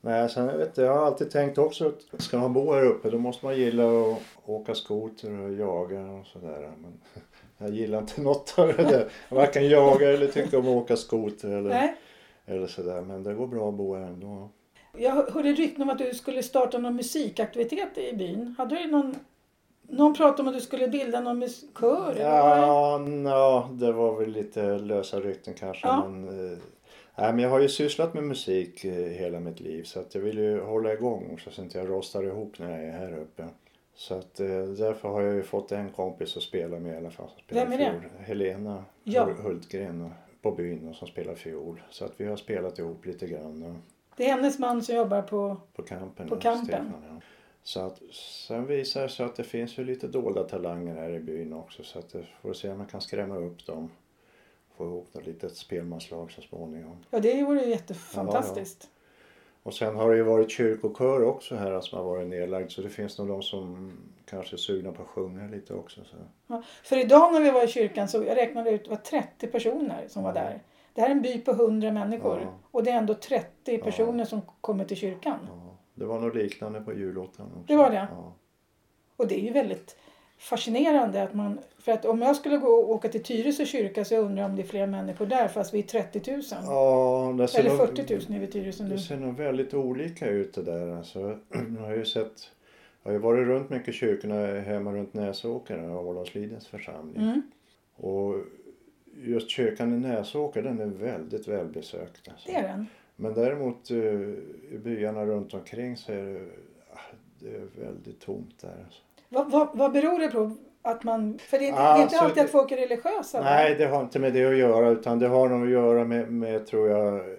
Speaker 3: Nej, sen, jag, vet, jag har alltid tänkt också att ska man bo här uppe då måste man gilla att åka skoter och jaga och sådär. Men jag gillar inte något av det där. Jag varken jagar eller tycker om att åka skoter eller,
Speaker 1: Nej,
Speaker 3: eller sådär. Men det går bra att bo här ändå.
Speaker 1: jag hörde rykten om att du skulle starta någon musikaktivitet i byn. Hade du någon Någon pratade om att du skulle bilda någon mus- kör. eller vad var det?
Speaker 3: Ja, nå, det var väl lite lösa rykten kanske.
Speaker 1: Ja.
Speaker 3: Men, eh, nej, men jag har ju sysslat med musik eh, hela mitt liv så att jag vill ju hålla igång så att inte jag rostar ihop när jag är här uppe. Så att eh, därför har jag ju fått en kompis att spela med i alla fall. Som spelar
Speaker 1: Vem är det?
Speaker 3: Fiol. Helena
Speaker 1: Ja.
Speaker 3: Hul- Hultgren på byn och som spelar fiol. Så att vi har spelat ihop lite grann. Och,
Speaker 1: Det är hennes man som jobbar på...
Speaker 3: på kampen.
Speaker 1: På
Speaker 3: ja,
Speaker 1: kampen.
Speaker 3: Stefan, ja. Så att, sen visar det sig att det finns ju lite dolda talanger här i byn också så att det får se om man kan skrämma upp dem. Få ihop något litet spelmanslag så småningom.
Speaker 1: Ja, det vore ju jättefantastiskt.
Speaker 3: Och sen har det ju varit kyrkokör också här som har varit nedlagd så det finns nog de som kanske är sugna på att sjunga lite också. Så.
Speaker 1: Ja. För idag när vi var i kyrkan så jag räknade ut det var 30 personer som var där. Det här är en by på 100 människor
Speaker 3: Ja.
Speaker 1: och det är ändå 30 personer som kommer till kyrkan.
Speaker 3: Ja. Det var nog liknande på julottan också.
Speaker 1: Det var det?
Speaker 3: Ja.
Speaker 1: Och det är ju väldigt fascinerande att man... För att om jag skulle gå och åka till Tyresö kyrka så jag undrar om det är fler människor där fast vi är 30 000.
Speaker 3: ja det ser
Speaker 1: Eller
Speaker 3: nog-
Speaker 1: 40 000 är vi i Tyresö nu.
Speaker 3: Det ser nog väldigt olika ut det där. Alltså, jag har ju sett, jag har ju varit runt mycket i kyrkorna hemma runt Näsåker och Ådalslidens församling.
Speaker 1: Mm.
Speaker 3: Och just kyrkan i Näsåker den är väldigt välbesökt. Alltså.
Speaker 1: Det är den.
Speaker 3: Men däremot eh, i byarna runt omkring så är det, ah, det är väldigt tomt där. Alltså.
Speaker 1: Vad, vad, vad beror det på att man... För det är, det är inte
Speaker 3: Alltså,
Speaker 1: alltid att
Speaker 3: det-
Speaker 1: folk är religiösa. Alltså, va?
Speaker 3: Nej, det har inte med det att göra utan det har nog att göra med, med tror jag,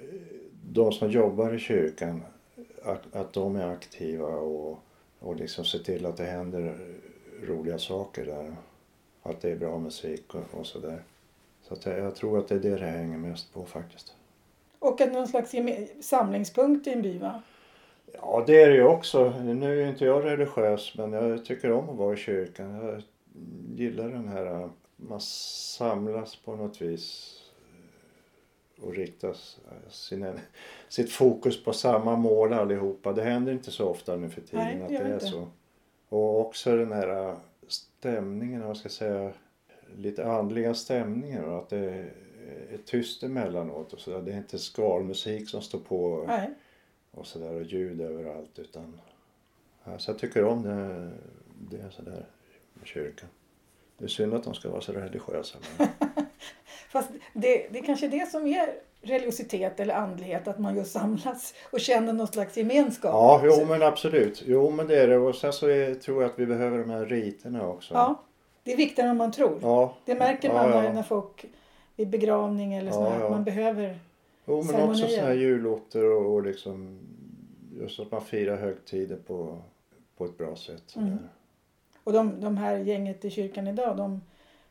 Speaker 3: de som jobbar i kyrkan. Att, att de är aktiva och, och liksom ser till att det händer roliga saker där. Att det är bra musik och, och sådär. Så att jag, jag tror att det är det det hänger mest på faktiskt.
Speaker 1: Och att någon slags geme- samlingspunkt i en by va?
Speaker 3: Ja, det är det ju också. Nu är ju inte jag religiös men jag tycker om att vara i kyrkan. Jag gillar den här, eh, man samlas på något vis äh, och riktas eh, sina, sitt fokus på samma mål allihopa. Det händer inte så ofta nu för tiden
Speaker 1: Nej, det
Speaker 3: att
Speaker 1: gör
Speaker 3: det är
Speaker 1: inte.
Speaker 3: så. Och också den här eh, stämningen, vad ska jag säga, lite andliga stämningen. va? Att det är är tyst emellanåt och sådär. Det är inte skalmusik som står på
Speaker 1: Nej.
Speaker 3: och sådär och ljud överallt utan Ja, så jag tycker om det, det sådär med kyrkan. Det är synd att de ska vara så religiösa. Men,
Speaker 1: Fast det, det är kanske det som är religiositet eller andlighet, att man just samlas och känner någon slags gemenskap.
Speaker 3: ja, jo men absolut. Jo men det är det och sen så är, tror jag att vi behöver de här riterna också.
Speaker 1: Ja, det är viktigare än man tror.
Speaker 3: Ja.
Speaker 1: Det märker
Speaker 3: Ja,
Speaker 1: man
Speaker 3: ja.
Speaker 1: när, när folk vid begravning eller
Speaker 3: Ja,
Speaker 1: sådär, att
Speaker 3: ja.
Speaker 1: man behöver.
Speaker 3: Jo men också
Speaker 1: ceremonier.
Speaker 3: sådana här julotter och, och liksom just att man firar högtider på, på ett bra sätt. sådär.
Speaker 1: Mm. Och de, de här gänget i kyrkan idag, de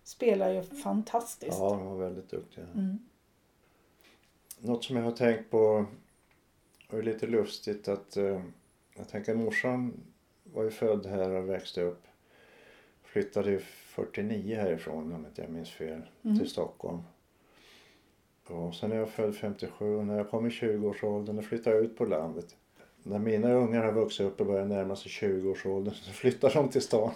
Speaker 1: spelar ju fantastiskt.
Speaker 3: Ja, de var väldigt duktiga.
Speaker 1: Mm.
Speaker 3: Något som jag har tänkt på och är lite lustigt att eh, jag tänker morsan var ju född här och växte upp. Flyttade ju 49 härifrån om inte jag minns fel
Speaker 1: Mm.
Speaker 3: till Stockholm. Och sen är jag född 57 och när jag kom i 20-årsåldern då flyttade jag ut på landet. När mina ungar har vuxit upp och börjar närma sig 20-årsåldern så flyttar de till stan.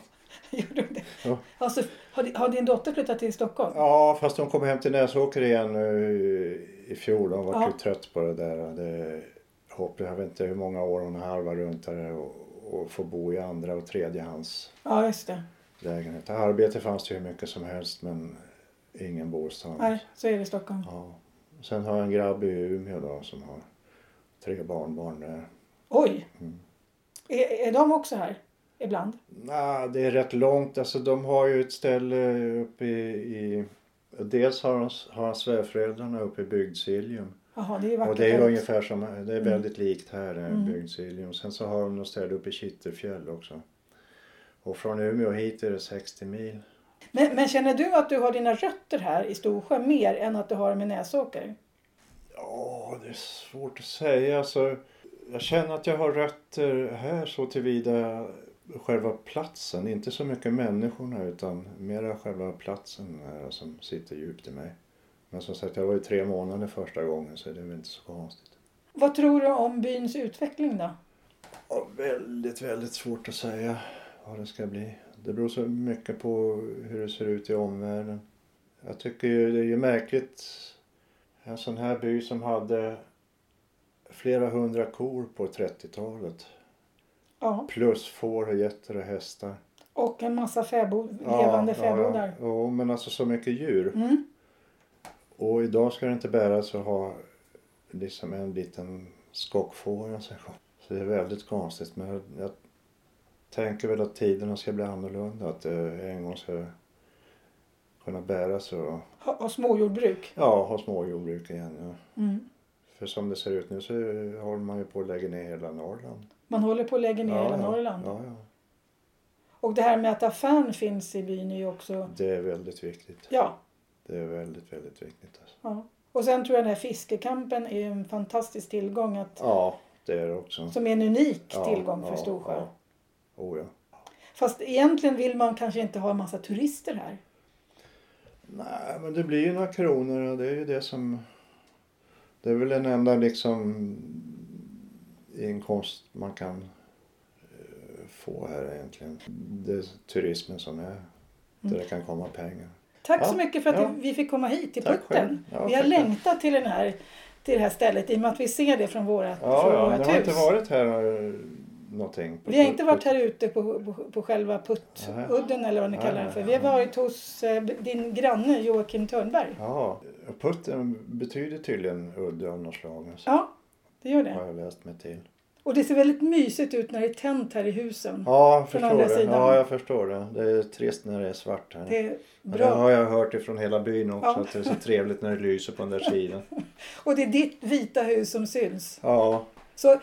Speaker 1: Gjorde de det?
Speaker 3: Ja.
Speaker 1: Alltså, har, di- har din dotter flyttat till Stockholm?
Speaker 3: Ja, fast hon kom hem till Näsåker igen nu i fjol. Hon var
Speaker 1: Ja.
Speaker 3: ju trött på det där. Det är hopplöst. Jag vet inte hur många år hon har harvat runt här och, och får bo i andra och tredjehands
Speaker 1: Ja, just det.
Speaker 3: lägenhet. Arbete fanns det ju hur mycket som helst men ingen bostad.
Speaker 1: Nej, så är det i Stockholm.
Speaker 3: Ja. Sen har jag en grabb i Umeå då som har tre barnbarn där.
Speaker 1: Oj!
Speaker 3: Mm.
Speaker 1: Är, är de också här? Ibland?
Speaker 3: Nej, det är rätt långt. Alltså, de har ju ett ställe uppe i... i dels har, de, har svärföräldrarna uppe i Bygdsiljum.
Speaker 1: Jaha, det är ju vackert.
Speaker 3: Och det är
Speaker 1: där också.
Speaker 3: ungefär som, det är väldigt likt här, mm. Bygdsiljum. Sen så har de något ställe uppe i Kitterfjäll också. Och från Umeå hit är det 60 mil.
Speaker 1: Men, men känner du att du har dina rötter här i Storsjö mer än att du har dem i Näsåker?
Speaker 3: Ja, det är svårt att säga. Alltså, jag känner att jag har rötter här så tillvida själva platsen. Inte så mycket människorna utan mera själva platsen här som sitter djupt i mig. Men som sagt, jag var ju tre månader första gången så det är väl inte så konstigt.
Speaker 1: Vad tror du om byns utveckling då?
Speaker 3: Ja, väldigt, väldigt svårt att säga vad det ska bli. Det beror så mycket på hur det ser ut i omvärlden. Jag tycker ju det är ju märkligt. En sån här by som hade flera hundra kor på 30-talet.
Speaker 1: Ja,
Speaker 3: Plus får och getter och hästar.
Speaker 1: Och en massa fäbod,
Speaker 3: Ja,
Speaker 1: levande
Speaker 3: ja,
Speaker 1: fäbodar.
Speaker 3: Ja, Jo, men alltså så mycket djur.
Speaker 1: Mm.
Speaker 3: Och idag ska det inte bäras att ha liksom en liten skockfåra. Så här. Så det är väldigt konstigt. Men jag, jag tänker väl att tiderna ska bli annorlunda. Att det en gång ska kunna bäras och
Speaker 1: Ha, ha småjordbruk.
Speaker 3: ja, ha småjordbruk igen. Ja.
Speaker 1: Mm.
Speaker 3: För som det ser ut nu så håller man ju på att lägga ner hela Norrland.
Speaker 1: Man håller på att lägga ner
Speaker 3: Ja,
Speaker 1: hela
Speaker 3: ja.
Speaker 1: Norrland.
Speaker 3: Ja, ja.
Speaker 1: Och det här med att affären finns i byn är ju också...
Speaker 3: Det är väldigt viktigt.
Speaker 1: Ja,
Speaker 3: Det är väldigt, väldigt viktigt. Alltså.
Speaker 1: ja. Och sen tror jag den här fiskekampen är en fantastisk tillgång att,
Speaker 3: Ja, det är det också.
Speaker 1: som är en unik
Speaker 3: Ja,
Speaker 1: tillgång för
Speaker 3: ja,
Speaker 1: Storsjö.
Speaker 3: Ja. Oh, ja.
Speaker 1: Fast egentligen vill man kanske inte ha en massa turister här.
Speaker 3: Nej, men det blir ju några kronor och det är ju det som... Det är väl den enda liksom inkomst man kan eh, få här egentligen. Det är turismen som är
Speaker 1: Mm.
Speaker 3: där det kan komma pengar.
Speaker 1: Tack
Speaker 3: Ja,
Speaker 1: så mycket för att
Speaker 3: ja.
Speaker 1: vi fick komma hit till
Speaker 3: Tack själv.
Speaker 1: Putten.
Speaker 3: Ja,
Speaker 1: vi har
Speaker 3: tack själv.
Speaker 1: längtat till, den här, till det här stället i och med att vi ser det från vårat,
Speaker 3: Ja,
Speaker 1: från
Speaker 3: ja,
Speaker 1: vårat
Speaker 3: det har
Speaker 1: hus.
Speaker 3: inte varit här eh, någonting. på-
Speaker 1: Vi har inte varit här ute på, på, på själva puttudden eller vad ni
Speaker 3: Nej,
Speaker 1: kallar
Speaker 3: nej,
Speaker 1: den för.
Speaker 3: nej.
Speaker 1: Vi har varit hos eh, din granne Joakim Törnberg.
Speaker 3: Ja, och putten betyder tydligen udde av något slag. alltså,
Speaker 1: Ja, det gör det.
Speaker 3: Har jag läst mig till.
Speaker 1: Och det ser väldigt mysigt ut när det är tänt här i husen.
Speaker 3: Ja, jag
Speaker 1: Från
Speaker 3: förstår
Speaker 1: andra
Speaker 3: det.
Speaker 1: sidan.
Speaker 3: Ja, jag förstår det. Det är trist när det är svart här.
Speaker 1: Det är
Speaker 3: Ja, Det har
Speaker 1: bra.
Speaker 3: jag hört ifrån hela byn också,
Speaker 1: Ja.
Speaker 3: att det är så trevligt när det lyser på den där sidan.
Speaker 1: Och det är ditt vita hus som syns.
Speaker 3: Ja,
Speaker 1: Så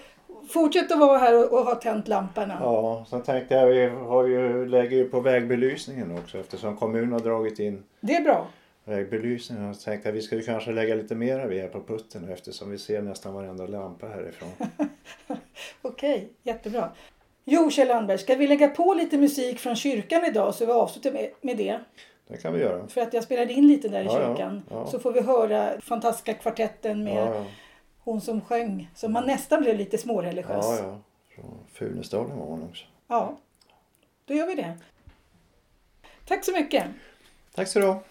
Speaker 1: fortsätt att vara här och, och ha tänt lamporna.
Speaker 3: ja. sen tänkte jag, vi har ju, lägger ju på vägbelysningen också eftersom kommunen har dragit in
Speaker 1: Det är bra.
Speaker 3: vägbelysningen. Så tänkte jag, vi ska ju kanske lägga lite mer av er på putten eftersom vi ser nästan varenda lampa härifrån.
Speaker 1: Okej, jättebra. Jo, Kjell Anders, ska vi lägga på lite musik från kyrkan idag så vi avslutar med, med det?
Speaker 3: Det kan vi göra.
Speaker 1: För att jag spelade in lite där i
Speaker 3: Ja, ja,
Speaker 1: kyrkan.
Speaker 3: ja.
Speaker 1: Så får vi höra fantastiska kvartetten med
Speaker 3: Ja, ja.
Speaker 1: hon som sjöng. Så man nästan blev lite småreligiös.
Speaker 3: ja, ja. Från Funäsdalen var hon också.
Speaker 1: Ja, då gör vi det. Tack så mycket.
Speaker 3: Tack så du ha.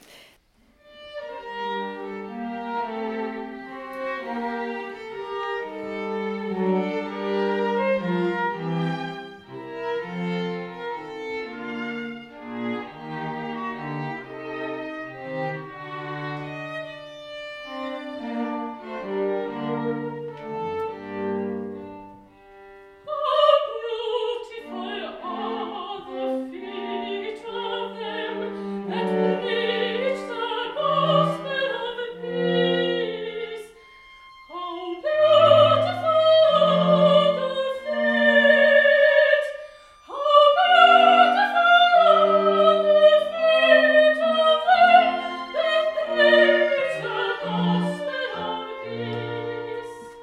Speaker 5: Peace.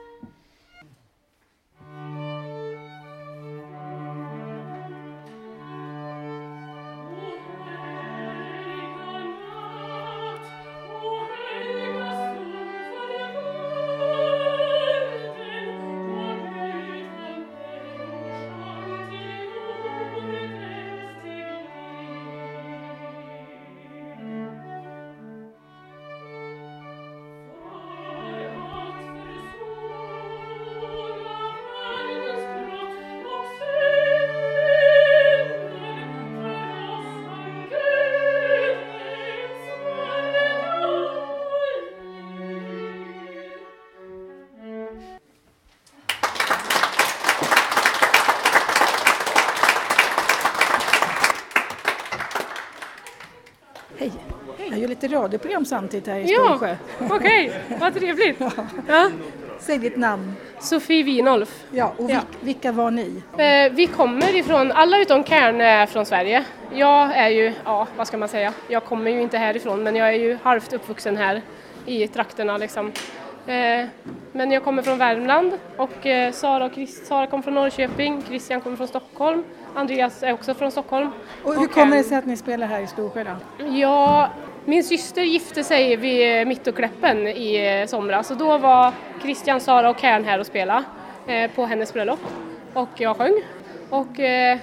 Speaker 5: O heiliger Nacht, o heiliger Stumpfer Golden, o heiliger Engel, schwand die unbegrenzte Liebe.
Speaker 1: Hej. Jag gör lite radioprogram samtidigt här i
Speaker 5: Ja.
Speaker 1: Storsjö.
Speaker 5: Okej, vad trevligt! Ja,
Speaker 1: Säg ditt namn.
Speaker 5: Sofie Winolf.
Speaker 1: Ja, och
Speaker 5: Ja.
Speaker 1: vil- vilka var ni?
Speaker 5: Eh, vi kommer ifrån, alla utom Kärn är från Sverige. Jag är ju, ja vad ska man säga, jag kommer ju inte härifrån men jag är ju halvt uppvuxen här i trakterna liksom. Eh, men jag kommer från Värmland och eh, Sara, och Chris, Sara kom från Norrköping, Christian kommer från Stockholm, Andreas är också från Stockholm.
Speaker 1: Och hur
Speaker 5: Och
Speaker 1: kommer det
Speaker 5: en-
Speaker 1: sig att ni spelar här i Storsjö då?
Speaker 5: Ja, min syster gifte sig vid Mittukläppen i eh, somras och då var Christian, Sara och Kern här och spelade eh, på hennes bröllop och jag sjöng. Och eh, eh,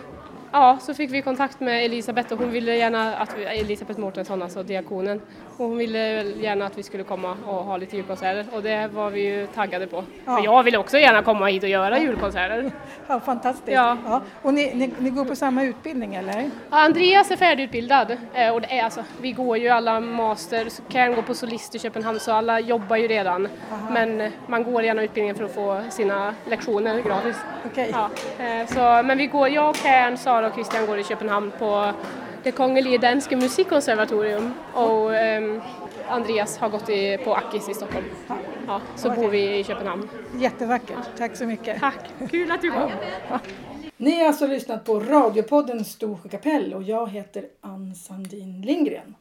Speaker 5: ja, så fick vi kontakt med Elisabeth och hon ville gärna att vi, Elisabeth Mårtensson, alltså diakonen, Och hon ville väl gärna att vi skulle komma och ha lite julkonserter och det var vi ju taggade på.
Speaker 1: Ja.
Speaker 5: Och jag ville också gärna komma hit och göra julkonserter.
Speaker 1: Ja, fantastiskt.
Speaker 5: Ja.
Speaker 1: Och ni, ni, ni går på samma utbildning eller?
Speaker 5: Ja, Andreas är färdigutbildad eh, och det är alltså, vi går ju alla master, så Karen går på solist i Köpenhamn så alla jobbar ju redan. Men eh, man går gärna utbildningen för att få sina lektioner gratis.
Speaker 1: Okej.
Speaker 5: Ja, eh, så, men vi går, jag, Karen, Sara och Christian går i Köpenhamn på Det Kongelige Danske Musikkonservatorium och ehm, Andreas har gått i, på Akis i Stockholm. Ja, så bor vi i Köpenhamn.
Speaker 1: Jättevackert. Tack så mycket.
Speaker 5: Tack! Kul att du kom!
Speaker 1: Ni har alltså lyssnat på radiopodden Storsjö kapell och jag heter Ann Sandin Lindgren.